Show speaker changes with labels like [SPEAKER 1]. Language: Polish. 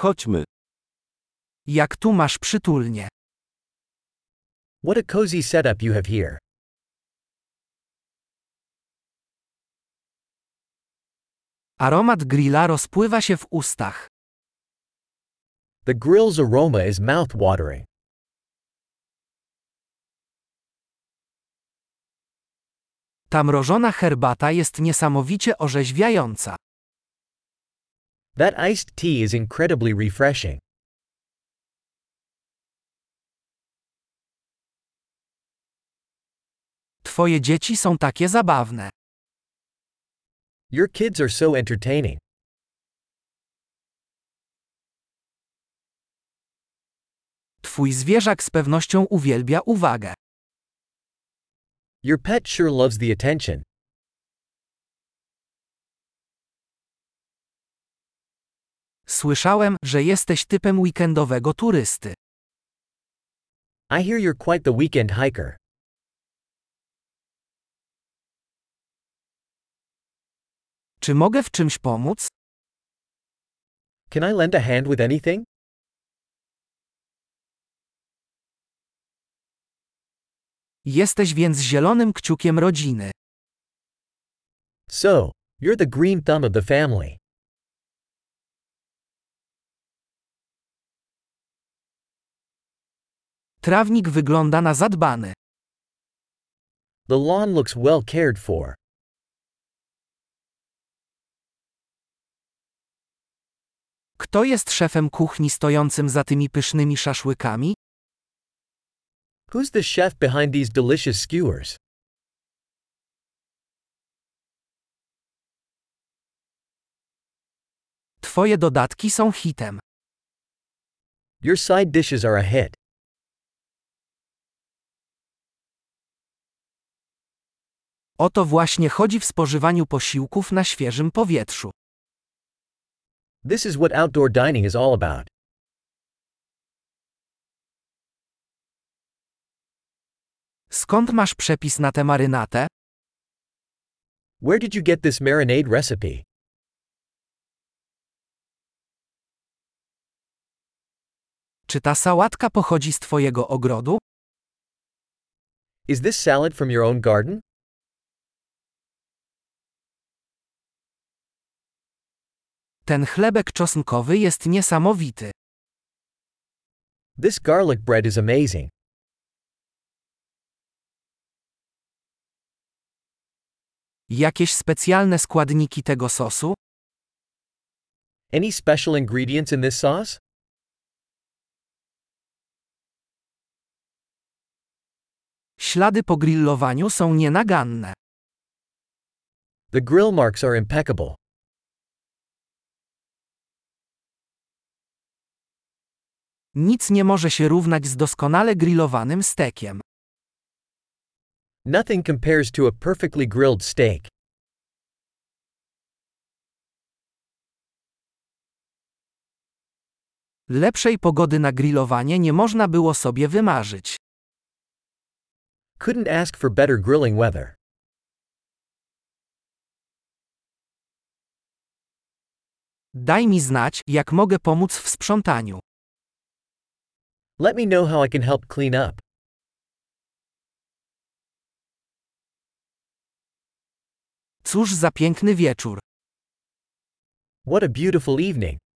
[SPEAKER 1] Chodźmy. Jak tu masz przytulnie.
[SPEAKER 2] What a cozy setup you have here.
[SPEAKER 1] Aromat grilla rozpływa się w ustach.
[SPEAKER 2] The grill's aroma is mouth-watering.
[SPEAKER 1] Ta mrożona herbata jest niesamowicie orzeźwiająca.
[SPEAKER 2] That iced tea is incredibly refreshing.
[SPEAKER 1] Twoje dzieci są takie zabawne.
[SPEAKER 2] Your kids are so entertaining.
[SPEAKER 1] Twój zwierzak z pewnością uwielbia uwagę.
[SPEAKER 2] Your pet sure loves the attention.
[SPEAKER 1] Słyszałem, że jesteś typem weekendowego turysty.
[SPEAKER 2] I hear you're quite the weekend hiker.
[SPEAKER 1] Czy mogę w czymś pomóc?
[SPEAKER 2] Can I lend a hand with anything?
[SPEAKER 1] Jesteś więc zielonym kciukiem rodziny.
[SPEAKER 2] So, you're the green thumb of the family.
[SPEAKER 1] Trawnik wygląda na zadbany.
[SPEAKER 2] The lawn looks well cared for.
[SPEAKER 1] Kto jest szefem kuchni stojącym za tymi pysznymi szaszłykami?
[SPEAKER 2] Who's the chef behind these delicious skewers?
[SPEAKER 1] Twoje dodatki są hitem.
[SPEAKER 2] Your side dishes are a hit.
[SPEAKER 1] O to właśnie chodzi w spożywaniu posiłków na świeżym powietrzu.
[SPEAKER 2] This is what outdoor dining is all about.
[SPEAKER 1] Skąd masz przepis na tę marynatę?
[SPEAKER 2] Where did you get this marinade recipe?
[SPEAKER 1] Czy ta sałatka pochodzi z twojego ogrodu?
[SPEAKER 2] Is this salad from your own garden?
[SPEAKER 1] Ten chlebek czosnkowy jest niesamowity.
[SPEAKER 2] This garlic bread is amazing.
[SPEAKER 1] Jakieś specjalne składniki tego sosu?
[SPEAKER 2] Any special ingredients in this sauce?
[SPEAKER 1] Ślady po grillowaniu są nienaganne.
[SPEAKER 2] The grill marks are impeccable.
[SPEAKER 1] Nic nie może się równać z doskonale grillowanym stekiem.
[SPEAKER 2] Nothing compares to a perfectly grilled steak.
[SPEAKER 1] Lepszej pogody na grillowanie nie można było sobie wymarzyć.
[SPEAKER 2] Couldn't ask for better grilling weather.
[SPEAKER 1] Daj mi znać, jak mogę pomóc w sprzątaniu.
[SPEAKER 2] Let me know how I can help clean up.
[SPEAKER 1] Cóż za piękny wieczór.
[SPEAKER 2] What a beautiful evening!